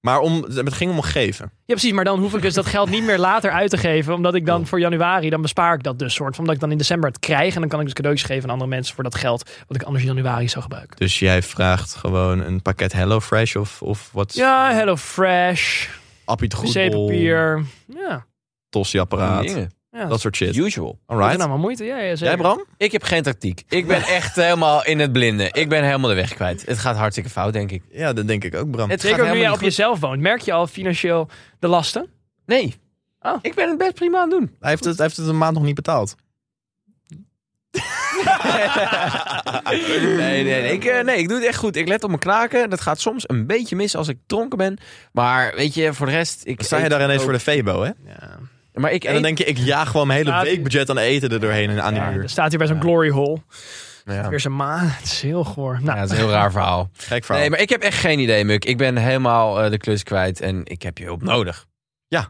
S2: Maar om, het ging om geven.
S3: Ja, precies. Maar dan hoef ik dus dat geld niet meer later uit te geven. Omdat ik
S2: Oh.
S3: dan voor januari, dan bespaar ik dat dus soort. van, Omdat ik dan in december het krijg. En dan kan ik dus cadeautjes geven aan andere mensen voor dat geld. Wat ik anders in januari zou gebruiken.
S2: Dus jij vraagt gewoon een pakket HelloFresh of, of wat?
S3: Ja, Hello Fresh,
S2: Appie het goedbol,
S3: wc-papier. Ja,
S2: tossieapparaat,
S1: Dingen.
S3: ja.
S2: dat soort shit.
S1: Usual.
S3: is
S2: Alright.
S3: allemaal moeite. Ja, ja, zeker.
S2: Jij Bram?
S1: Ik heb geen tactiek. Ik ben echt helemaal in het blinde. Ik ben helemaal de weg kwijt. Het gaat hartstikke fout, denk ik.
S2: Ja, dat denk ik ook Bram.
S1: Het gaat
S3: Zeker ook nu
S1: helemaal
S3: jij op
S1: niet goed.
S3: jezelf woont. Merk je al financieel de lasten?
S1: Nee.
S3: Oh.
S1: Ik ben het best prima aan het doen.
S2: Hij heeft het, hij heeft het een maand nog niet betaald.
S1: nee, nee, nee, ik, eh, nee, ik doe het echt goed. Ik let op mijn knaken. Dat gaat soms een beetje mis als ik dronken ben. Maar weet je, voor de rest... Ik
S2: Dan sta je daar ineens voor de Febo, hè?
S1: de... Maar ik
S2: En dan
S1: eet-
S2: denk je, ik jaag gewoon mijn hele
S3: Ja,
S2: week budget aan eten er doorheen en aan die
S3: Ja,
S2: muur.
S3: er staat hier bij zo'n glory hole.
S1: Ja.
S3: Weer zijn ma. Het is heel goor. Nou,
S1: Ja, dat is een heel raar verhaal.
S2: Gek verhaal.
S1: Nee, maar ik heb echt geen idee, Muk. Ik ben helemaal eh, de klus kwijt en ik heb je hulp nodig.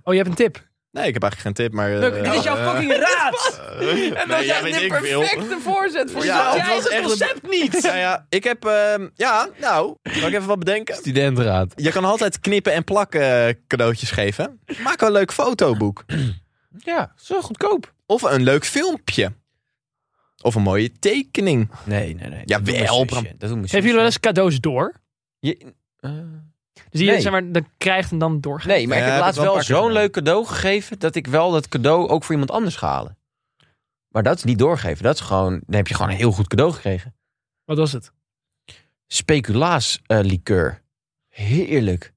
S3: oh, je hebt een tip.
S2: Nee, ik heb eigenlijk geen tip, maar... eh,
S3: Leuk, dit is jouw
S2: eh,
S3: fucking raad.
S2: eh, nee, ja, weet ik veel.
S3: voorzet
S2: voor Ja, jezelf. het
S3: Jij
S2: was
S3: het
S2: echt een-
S3: concept niet.
S2: Ja, ja, ik heb... ehm, ja, nou, kan ik even wat bedenken?
S1: Studentenraad.
S2: Je kan altijd knippen en plakken eh, cadeautjes geven. Maak een leuk fotoboek.
S1: Ja, zo goedkoop.
S2: Of een leuk filmpje. Of een mooie tekening.
S1: Nee, nee, nee.
S2: Ja,
S1: Dat doet mijn
S2: wel,
S1: zusje.
S2: Bram.
S1: Dat doen
S3: Geven jullie wel eens cadeaus door?
S1: Eh,
S3: Dus je
S1: Nee.
S3: zeg maar, dat krijgt en dan doorgaat.
S1: Nee, maar
S2: Ja,
S1: ik heb
S2: heb ik
S1: laatst
S2: wel een
S1: wel
S2: paar keer
S1: zo'n
S2: gedaan.
S1: leuk cadeau gegeven dat ik wel dat cadeau ook voor iemand anders ga halen. Maar dat is niet doorgeven. Dat is gewoon, dan heb je gewoon een heel goed cadeau gekregen.
S3: Wat was het?
S1: Speculaas eh liqueur. Heerlijk.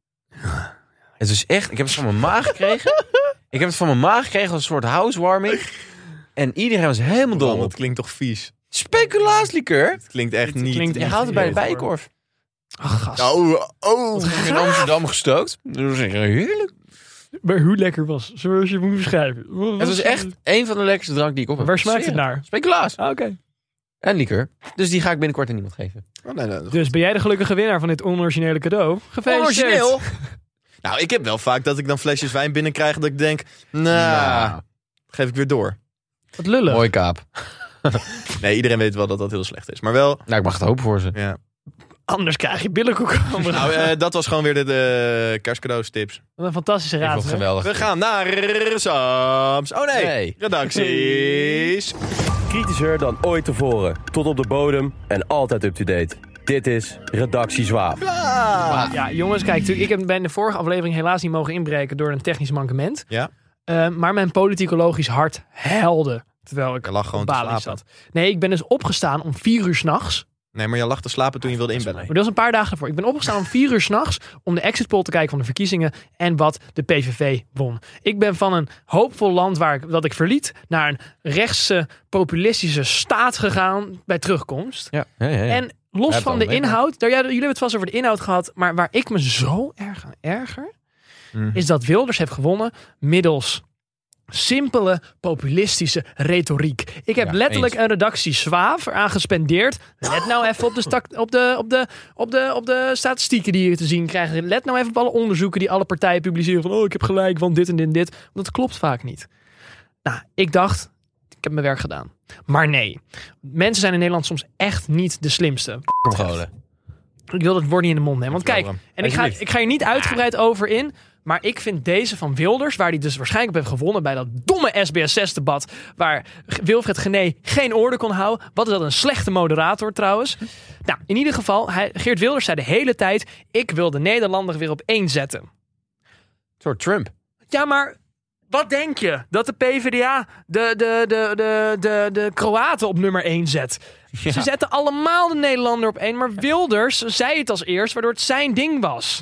S1: Het is echt, ik heb het van mijn ma gekregen. ik heb het van mijn ma gekregen als een soort housewarming. En iedereen was helemaal dol
S2: Dat
S1: op.
S2: klinkt toch vies.
S1: Speculaas liqueur.
S2: Het klinkt echt
S3: Dit
S2: niet.
S3: klinkt
S1: Je haalt het bij de bijenkorf.
S3: Ach, gast.
S1: Nou.
S2: Oh, oh.
S1: In Amsterdam gestookt. Dat is echt heerlijk.
S3: Maar hoe lekker was, zoals je moet beschrijven.
S1: Het was echt een van de lekkerste drank die ik op heb.
S3: Waar smaakt het
S1: Serieus.
S3: naar?
S1: Speculaas.
S3: Ah, Oké.
S1: En liqueur. Dus die ga ik binnenkort aan iemand geven.
S2: Oh, nee, nee.
S3: Dus ben jij de gelukkige winnaar van dit onoriginele cadeau? Gefeliciteerd.
S2: Nou, ik heb wel vaak dat ik dan flesjes wijn binnenkrijg dat ik denk, nou,
S1: Nou.
S2: geef ik weer door.
S3: Wat lullen.
S1: Mooi kaap.
S2: Nee, iedereen weet wel dat dat heel slecht is. Maar wel,
S1: Nou, ik mag het hopen voor ze.
S2: ja.
S3: Anders krijg je billenkoek.
S2: Nou, eh, dat was gewoon weer de, de kerstcadeaus tips.
S3: Wat een fantastische
S1: Ik vond
S3: raad.
S1: het
S3: hè?
S1: geweldig.
S2: We gaan naar Sams. Oh nee,
S1: Nee.
S2: redacties.
S7: Kritischer dan ooit tevoren. Tot op de bodem en altijd up-to-date. Dit is Redactie Zwaap.
S3: Ja, jongens, kijk, natuurlijk, ik heb bij de vorige aflevering helaas niet mogen inbreken door een technisch mankement.
S2: Ja.
S3: Eh, maar mijn politicologisch hart helde. Terwijl ik
S2: Je lag gewoon
S3: op
S2: te
S3: Bali
S2: slapen.
S3: zat. Nee, ik ben dus opgestaan om vier uur s'nachts.
S2: Nee, maar je lag te slapen toen je wilde inbellen.
S3: Maar dat was een paar dagen ervoor. Ik ben opgestaan om vier uur s'nachts om de exit poll te kijken van de verkiezingen en wat de PVV won. Ik ben van een hoopvol land waar ik, dat ik verliet naar een rechtse populistische staat gegaan bij terugkomst.
S1: Ja, ja, ja, ja.
S3: En los
S1: het
S3: van
S1: al
S3: de
S1: meegemaakt.
S3: inhoud, daar, ja, jullie hebben het vast over de inhoud gehad, maar waar ik me zo erg aan erger,
S1: Mhm.
S3: is dat Wilders heeft gewonnen middels simpele populistische retoriek. Ik heb
S1: Ja,
S3: letterlijk
S1: eens.
S3: een redactie zwaaf eraan gespendeerd. Let nou even op de, stak- op, de, op, de, op, de, op de statistieken die je te zien krijgt. Let nou even op alle onderzoeken die alle partijen publiceren van oh, ik heb gelijk, want dit en dit en dit. Want dat klopt vaak niet. Nou, ik dacht, ik heb mijn werk gedaan. Maar nee, mensen zijn in Nederland soms echt niet de slimste.
S1: Scholen.
S3: Ik wil dat woord niet in de mond nemen. Want kijk, en ik ga, ik ga hier niet uitgebreid over in. Maar ik vind deze van Wilders, waar hij dus waarschijnlijk op heeft gewonnen bij dat domme SBS6-debat. Waar G- Wilfred Gené geen orde kon houden. Wat is dat een slechte moderator trouwens? Nou, in ieder geval, hij, Geert Wilders zei de hele tijd: Ik wil de Nederlander weer op één zetten.
S1: Een soort Trump.
S3: Ja, maar wat denk je? Dat de PvdA de, de, de, de, de, de Kroaten op nummer 1 zet. Ze zetten allemaal de Nederlander op 1, maar Wilders zei het als eerst, waardoor het zijn ding was.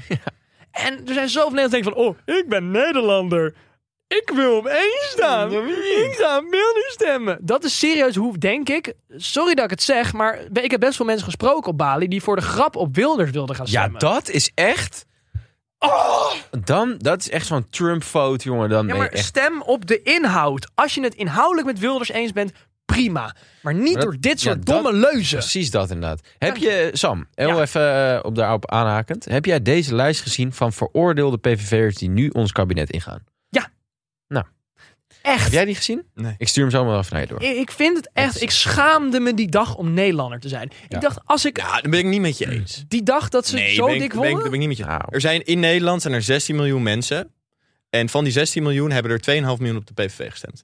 S3: En er zijn zoveel Nederlanders die denken van, oh, ik ben Nederlander. Ik wil op één staan. Ik ga op Wilders stemmen. Dat is serieus hoe, denk ik, sorry dat ik het zeg, maar ik heb best veel mensen gesproken op Bali die voor de grap op Wilders wilden gaan
S1: Ja,
S3: stemmen. Oh!
S1: dat is echt... Dan, dat is echt zo'n Trump-fout, jongen. Dan
S3: Ja,
S1: ben je
S3: maar
S1: echt...
S3: stem op de inhoud. Als je het inhoudelijk met Wilders eens bent, prima. Maar niet
S1: dat-
S3: door dit
S1: ja,
S3: soort
S1: dat-
S3: domme leuzen.
S1: Precies dat inderdaad. Heb je, Sam, heel even eh, op daarop aanhakend. Heb jij deze lijst gezien van veroordeelde PVV'ers die nu ons kabinet ingaan? Heb
S3: Echt.
S1: jij die gezien?
S2: Nee.
S1: Ik stuur hem zo maar even naar je door.
S3: Ik ik vind het echt. Ik schaamde me die dag om Nederlander te zijn.
S1: Ja.
S3: Ik dacht, als ik
S2: Ja, dat ben ik niet met je eens.
S3: die dag dat ze zo
S2: ben ik-
S3: dik
S2: ben ik-
S3: wonnen.
S2: ben ik niet met je.
S1: Nou.
S2: Er zijn in Nederland zijn er 16 miljoen mensen. En van die 16 miljoen hebben er 2,5 miljoen op de PVV gestemd.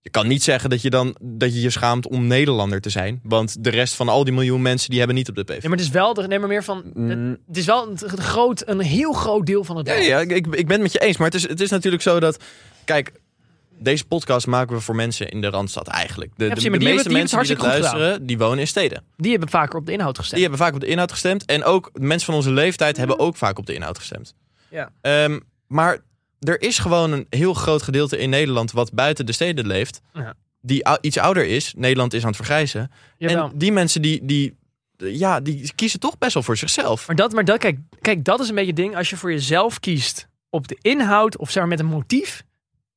S2: Je kan niet zeggen dat je dan dat je, je schaamt om Nederlander te zijn. Want de rest van al die miljoen mensen die hebben niet op de PVV.
S3: Nee, maar het is wel, de- nee, maar meer van,
S1: Mm.
S3: het, het is wel een, een groot, een heel groot deel van het
S2: Ja,
S3: land.
S2: ja ik, ik ik ben het met je eens. Maar het is, het is natuurlijk zo dat. Kijk, deze podcast maken we voor mensen in de randstad eigenlijk. De, de,
S3: precies,
S2: de
S3: maar die
S2: meeste
S3: hebben- die
S2: mensen die dit
S3: hebben het hartstikke goed
S2: luisteren, die wonen in steden.
S3: Die hebben vaker op de inhoud gestemd.
S2: Die hebben vaak op de inhoud gestemd. En ook mensen van onze leeftijd hebben ook vaak op de inhoud gestemd.
S3: Mhm. Ja.
S2: Ehm, maar er is gewoon een heel groot gedeelte in Nederland wat buiten de steden leeft.
S3: Ja.
S2: Die ou- iets ouder is. Nederland is aan het vergrijzen.
S3: Jawel.
S2: En die mensen die, die, ja, die kiezen toch best wel voor zichzelf.
S3: Maar dat, maar dat, kijk, kijk, dat is een beetje het ding. Als je voor jezelf kiest op de inhoud of zeg maar met een motief,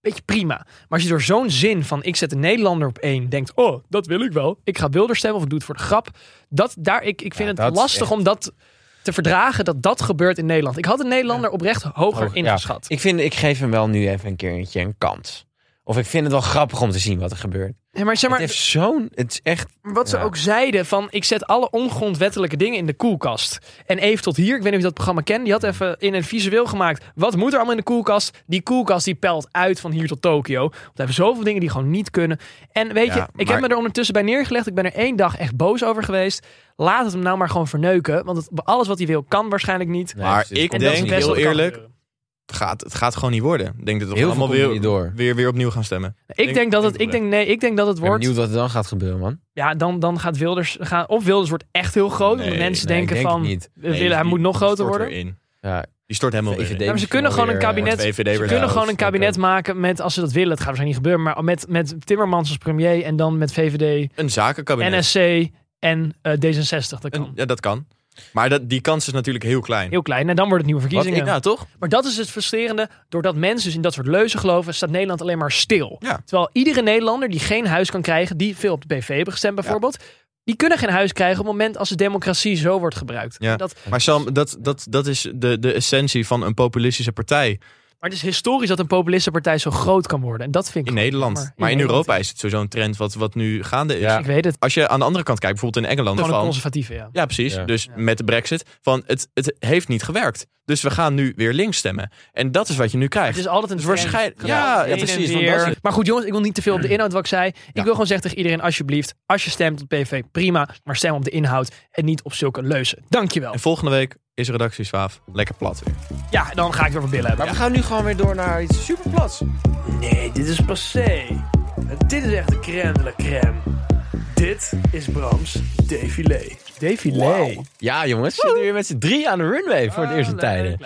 S3: beetje prima. Maar als je door zo'n zin van ik zet de Nederlander op één, denkt, oh, dat wil ik wel. Ik ga Wilders stemmen of ik doe het voor de grap. Dat, daar, ik, ik vind
S1: Ja,
S3: het
S1: dat is
S3: lastig om dat te verdragen dat dat gebeurt in Nederland. Ik had een Nederlander oprecht hoger
S1: Hoger, ja.
S3: ingeschat.
S1: Ik, vind, ik geef hem wel nu even een keertje een kans. Of ik vind het wel grappig om te zien wat er gebeurt.
S3: Ja, maar zeg
S1: het
S3: maar,
S1: heeft zo'n... Het is echt...
S3: wat ze
S1: Ja.
S3: ook zeiden van ik zet alle ongrondwettelijke dingen in de koelkast. En even tot hier, ik weet niet of je dat programma kent, die had even in een visueel gemaakt. Wat moet er allemaal in de koelkast? Die koelkast die pelt uit van hier tot Tokio. Want we hebben zoveel dingen die gewoon niet kunnen. En weet
S2: Ja,
S3: je, ik
S2: maar-
S3: heb me er ondertussen bij neergelegd. Ik ben er één dag echt boos over geweest. Laat het hem nou maar gewoon verneuken, want het, alles wat hij wil kan waarschijnlijk niet.
S2: maar
S1: precies.
S2: ik
S3: En dat is
S2: denk,
S3: best
S2: heel
S3: wel kan
S2: eerlijk,
S3: gebeuren.
S2: het gaat, het gaat gewoon niet worden. Ik denk dat we
S1: Heel veel
S2: allemaal
S1: komt er
S2: weer,
S1: niet door.
S2: Weer, weer opnieuw gaan stemmen.
S3: Ik denk dat het, ik denk nee, ik denk dat het
S1: Ik ben
S3: wordt.
S1: benieuwd wat er dan gaat gebeuren, man.
S3: Ja, dan, dan gaat Wilders. Gaan, of Wilders wordt echt heel groot. want
S2: Nee,
S3: mensen
S1: nee, ik
S3: denken
S1: denk
S3: van.
S1: het niet.
S3: we willen- hij moet nog groter worden.
S2: In.
S1: Ja,
S2: Die stort helemaal weer
S1: VVD
S2: in.
S3: maar ze kunnen gewoon een kabinet-
S2: Wordt VVD
S3: We
S2: weer
S3: kunnen
S2: uit.
S3: gewoon een kabinet maken met, als ze dat willen, het gaat waarschijnlijk niet gebeuren, maar met, met Timmermans als premier en dan met VVD,
S2: Een zakenkabinet.
S3: NSC en eh, D66. Dat
S2: Een-
S3: kan.
S2: ja, dat kan. Maar dat, die kans is natuurlijk heel klein.
S3: Heel klein. En dan wordt het nieuwe
S2: Wat
S3: verkiezingen.
S2: ik, nou, toch?
S3: Maar dat is het frustrerende. Doordat mensen dus in dat soort leuzen geloven, staat Nederland alleen maar stil.
S2: Ja.
S3: Terwijl iedere Nederlander die geen huis kan krijgen, die veel op de PV hebben gestemd bijvoorbeeld, die kunnen geen huis krijgen op het moment als de democratie zo wordt gebruikt.
S2: Ja.
S3: Dat,
S2: Maar Sam, dat, dat, dat is de, de essentie van een populistische partij
S3: maar het is historisch dat een populistische partij zo groot kan worden. En dat vind ik
S2: in
S3: gewoon
S2: Nederland.
S3: jammer.
S2: Maar in
S3: Nederland.
S2: Europa is het sowieso een trend wat, wat nu gaande is.
S3: Ik weet het.
S2: Als je aan de andere kant kijkt, bijvoorbeeld in Engeland.
S3: Gewoon een
S2: Van,
S3: conservatieve, ja.
S2: ja, precies.
S1: Ja.
S2: Dus met de brexit. Van het, het heeft niet gewerkt. Dus we gaan nu weer links stemmen. En dat is wat je nu krijgt.
S3: Het is altijd een
S2: Dus
S3: trend.
S2: waarschijnlijk-
S3: Gedaan.
S2: ja, ja,
S3: Heen en
S2: precies, want
S3: weer.
S2: dat is het.
S3: Maar goed, jongens, ik wil niet te veel op de
S1: Hmm.
S3: inhoud wat ik zei. Ik wil gewoon zeggen tegen iedereen, alsjeblieft, als je stemt op PV, prima. Maar stem op de inhoud en niet op zulke leuzen. Dankjewel.
S2: En volgende week is redactie Zwaaf lekker plat weer.
S3: Ja, dan ga ik weer wat billen hebben.
S1: Maar we gaan nu gewoon weer door naar iets superplats.
S3: Nee, dit is passé. Dit is echt de crème de la crème. Dit is Brams défilé. Défilé.
S1: Ja, jongens. Zitten we weer met z'n drie aan de runway voor
S3: Ah,
S1: het eerst in tijden.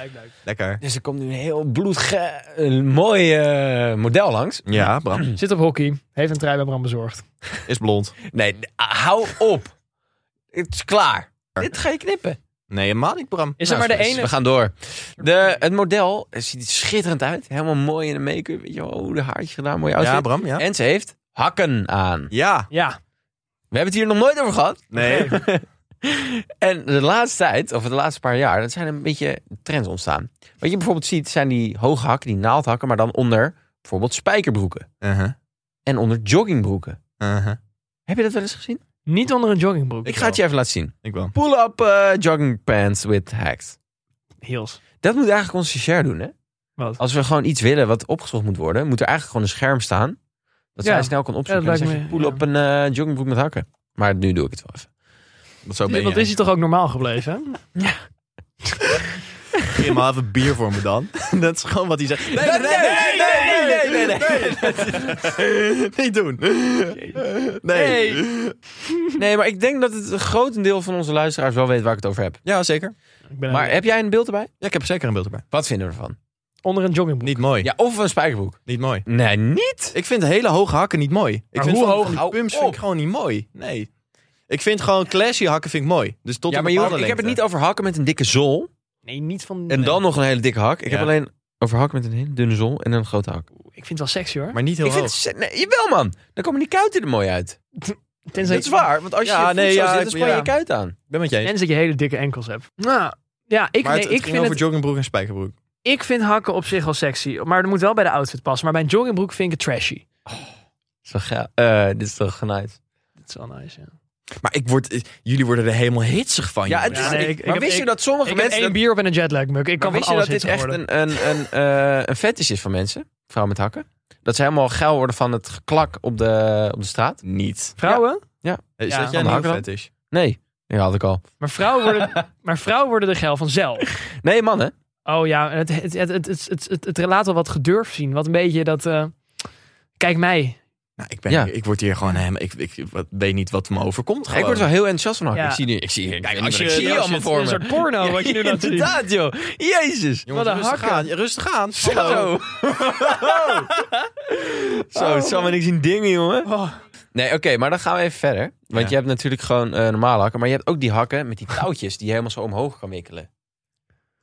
S2: Lekker.
S1: Dus er komt nu een heel bloedge... Een mooi eh, model langs.
S2: Ja, Bram.
S3: Zit op hockey. Heeft een trui bij Bram bezorgd.
S2: Is blond.
S1: Nee, n- hou op. Het is klaar. Dit ga je knippen.
S2: Nee, helemaal niet, Bram.
S3: Is er maar de
S1: dus
S3: ene...
S1: We gaan door. De, het model eh, ziet er schitterend uit. Helemaal mooi in de make-up. Weet je wel, oh, de haartjes gedaan. Mooi outfit.
S2: Ja, Bram, ja.
S1: En ze heeft hakken aan.
S2: Ja.
S3: Ja,
S1: We hebben het hier nog nooit over gehad.
S2: Nee.
S1: En de laatste tijd, of de laatste paar jaar, dat zijn een beetje trends ontstaan. Wat je bijvoorbeeld ziet, zijn die hoge hakken, die naaldhakken, maar dan onder bijvoorbeeld spijkerbroeken.
S2: Uh-huh,
S1: En onder joggingbroeken.
S2: uh-huh.
S1: Heb je dat wel eens gezien?
S3: niet onder een joggingbroek.
S1: Ik ga het je even laten zien.
S2: Ik wel.
S1: Pull-up eh, jogging pants with hacks.
S3: Heels.
S1: Dat moet eigenlijk onze stagiair doen, hè?
S3: Wat?
S1: Als we gewoon iets willen wat opgezocht moet worden, moet er eigenlijk gewoon een scherm staan. Dat
S3: Ja.
S1: zij snel kan opzoeken.
S3: Ja, dat
S1: en dan
S3: lijkt
S1: zeg je
S3: me-
S1: pull-up een eh, joggingbroek met hakken. Maar nu doe ik het wel even.
S2: Dat zo ben
S3: Dat is hij
S2: je.
S3: toch ook normaal gebleven, hè?
S2: Geef maar even bier voor me dan. Dat is gewoon wat hij zegt. Nee,
S1: nee, nee, nee, nee, nee,
S2: Niet doen. Nee.
S1: Nee, maar ik denk dat het grotendeel van onze luisteraars wel weet waar ik het over heb.
S2: Ja, zeker.
S3: Ik ben
S1: Maar heb jij een beeld erbij?
S2: Ja, ik heb er zeker een beeld erbij.
S1: Wat vinden we ervan?
S3: onder een joggingbroek.
S2: Niet mooi.
S1: Ja, of een spijkerboek.
S2: Niet mooi.
S1: Nee, niet.
S2: Ik vind hele hoge hakken niet mooi. Ik
S3: Maar
S2: vind
S3: hoe
S2: van-
S3: hoog?
S2: van Die
S1: Hou
S2: pumps vind
S1: op.
S2: ik gewoon niet mooi. Nee. Ik vind gewoon classy hakken vind ik mooi. Dus tot
S1: ja,
S2: een
S1: maar joh,
S2: bepaalde
S1: ik heb het
S2: lengte.
S1: niet over hakken met een dikke zool.
S3: Nee, niet van...
S1: En dan nog een hele dikke hak. Ik
S2: Ja.
S1: heb alleen over hakken met een hele dunne zool en een grote hak.
S3: Ik vind het wel sexy, hoor.
S2: Maar niet heel
S1: Ik vind
S2: hoog.
S1: het... Nee, jawel man. Dan komen die kuiten er mooi uit.
S3: Tenzij
S1: Dat is waar. Want als je
S2: Ja,
S1: je voet
S2: nee,
S1: zo
S2: ja,
S1: zit,
S2: ik-
S1: dan span je
S2: ja.
S1: je kuit aan.
S2: Ik ben met je eens.
S3: En dat je hele dikke enkels hebt. Nou, ja, ik,
S2: Maar
S3: nee,
S2: het, het
S3: ik,
S2: ging
S3: vind
S2: over
S3: het,
S2: joggingbroek en spijkerbroek.
S3: ik vind hakken op zich wel sexy. Maar dat moet wel bij de outfit passen. Maar bij een joggingbroek vind ik het trashy.
S1: Is wel gaaf. Eh, dit is toch nice.
S3: Dat is wel nice, ja.
S2: Maar ik word, eh, jullie worden er helemaal hitsig van.
S1: Ja, het
S2: jongens.
S1: is,
S3: Oh, Ja, nee, ik- ik
S1: maar
S3: heb-
S1: wist je
S3: ik-
S1: dat sommige
S3: Ik heb
S1: mensen...
S3: één
S1: dat-
S3: bier op en een jetlag-muk. Ik
S1: Maar
S3: kan van
S1: wist je
S3: alles
S1: dat dit
S3: hitsig
S1: echt
S3: worden.
S1: een, een, een, eh, een fetish is van mensen? Vrouwen met hakken. Dat ze helemaal geil worden van het geklak op de, op de straat.
S2: niet.
S3: Vrouwen?
S2: Is
S3: Ja.
S2: dat jij
S1: Van
S2: een
S1: hakken dan?
S2: fetish?
S1: Nee, die had ik al.
S3: Maar, vrouwen worden, maar vrouwen worden er geil vanzelf.
S1: Nee, mannen.
S3: Oh ja, het, het, het, het, het, het, het, het laat wel wat gedurf zien. Wat een beetje dat... eh, kijk mij.
S2: Nou, ik, ben,
S1: Ja.
S2: ik word hier gewoon helemaal... Ik, ik wat- weet niet wat me overkomt gewoon.
S1: Ik word wel heel enthousiast van hakken.
S3: Ja.
S1: Ik zie nu, ik zie, ik weet
S2: als
S1: niet
S2: je-
S1: wat ik zie
S2: als je
S1: allemaal
S2: het-
S1: voor
S3: Een
S1: me.
S3: soort porno wat je nu laat zien.
S1: Inderdaad, joh. Jezus.
S2: Jongens,
S3: Wat een
S2: rustig
S3: hakken.
S2: aan. Rustig aan. Hallo.
S1: Zo. Zo, het zal me niks zien dingen, jongen.
S3: Oh.
S1: Nee, oké, maar dan gaan we even verder. Want
S2: Ja.
S1: je hebt natuurlijk gewoon eh, normale hakken. Maar je hebt ook die hakken met die touwtjes die je helemaal zo omhoog kan wikkelen.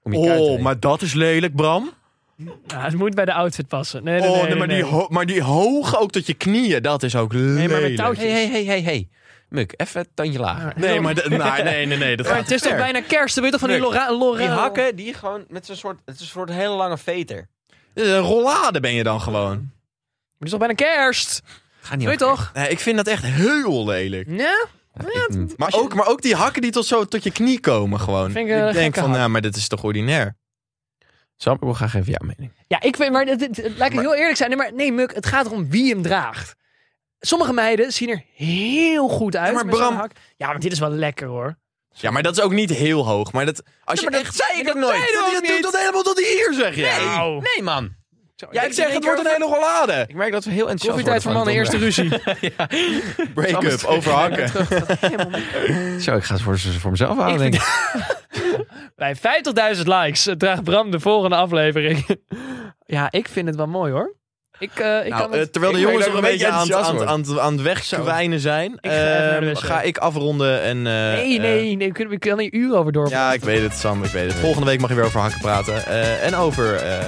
S1: Om je kuit te
S2: Oh,
S1: wringen.
S2: maar dat is lelijk, Bram.
S3: Ja, Ah, het moet bij de outfit passen. Nee, nee,
S2: oh,
S3: nee,
S2: nee,
S3: nee,
S2: maar,
S3: nee.
S2: Die ho- maar die hoog ook tot je knieën, dat is ook lelijk.
S3: Nee, maar met touwtjes.
S1: Hey, hey, hey, hey, hey. Muk, even het tandje lager.
S2: Nee, maar dat- nou, nee, nee, nee, dat
S3: Maar
S2: gaat
S3: het is
S2: te
S3: toch
S2: ver.
S3: bijna kerst? Dan wil je toch van die
S1: Nee.
S3: Lora... Lora
S1: Die hakken, die gewoon met zo'n soort, het is een soort hele lange veter.
S2: Dit is Een Eh, rollade ben je dan gewoon.
S3: Het is toch bijna kerst?
S1: Ga niet
S3: Weet je toch?
S2: Nee, ik vind dat echt heel lelijk.
S3: Ja?
S2: Maar ook, maar ook die hakken die tot, zo, tot je knie komen gewoon.
S3: Vind ik,
S2: ik
S3: eh,
S2: denk
S3: gekke
S2: van,
S3: hak.
S2: nou, maar dit is toch ordinair.
S1: Sam, ik wil graag even jouw mening.
S3: Ja, ik vind... Maar het, het, het- laat ik heel eerlijk zijn. Nee, maar, nee, Muk, het gaat erom wie hem draagt. Sommige meiden zien er heel goed uit.
S2: Ja, maar
S3: met zo'n
S2: Bram-
S3: hak. Ja, maar dit is wel lekker hoor.
S2: Ja, maar dat is ook niet heel hoog. Maar dat, als je
S1: maar dat
S2: echt,
S1: zei ik ook
S2: dat
S1: nooit.
S2: zei je
S1: Dat
S2: ook
S1: doet-
S2: niet.
S1: doet
S2: helemaal tot hier, zeg jij.
S3: Au.
S1: Nee, man.
S2: Ja, ik zeg, het wordt een hele rollade.
S1: Ik merk dat we heel enthousiast worden.
S3: Koffietijd voor mannen, eerste ruzie.
S2: Break-up, over hakken.
S1: Zo, ik ga het voor, voor mezelf houden, denk ik.
S3: Bij 50.000 likes eh, draagt Bram de volgende aflevering. ja, ik vind het wel mooi hoor. Ik, eh, ik
S2: Nou,
S3: kan het...
S2: eh, terwijl de
S1: ik merk
S2: jongens
S1: dat
S2: nog
S1: ik
S2: een
S1: een
S2: beetje
S1: beetje
S2: aan,
S1: enthousiast
S2: aan,
S1: word.
S2: aan, aan het wegkwijnen zijn,
S3: ga even naar de
S2: ehm,
S3: wedstrijd.
S2: ga ik afronden en... eh,
S3: Nee,
S2: eh,
S3: nee, nee. We kunnen we kunnen er een uur over door.
S2: Ja, ik weet het, Sam, ik weet het. Volgende week mag je weer over hakken praten. Eh, en over eh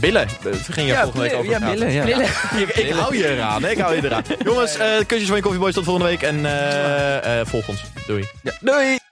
S2: billen. Het ging je volgende week over praten.
S1: ja.
S2: Ik, ik hou je eraan, hè? ik hou je eraan. Jongens, eh, kusjes van je koffieboys tot volgende week. En eh, eh, volg ons. Doei.
S1: Doei!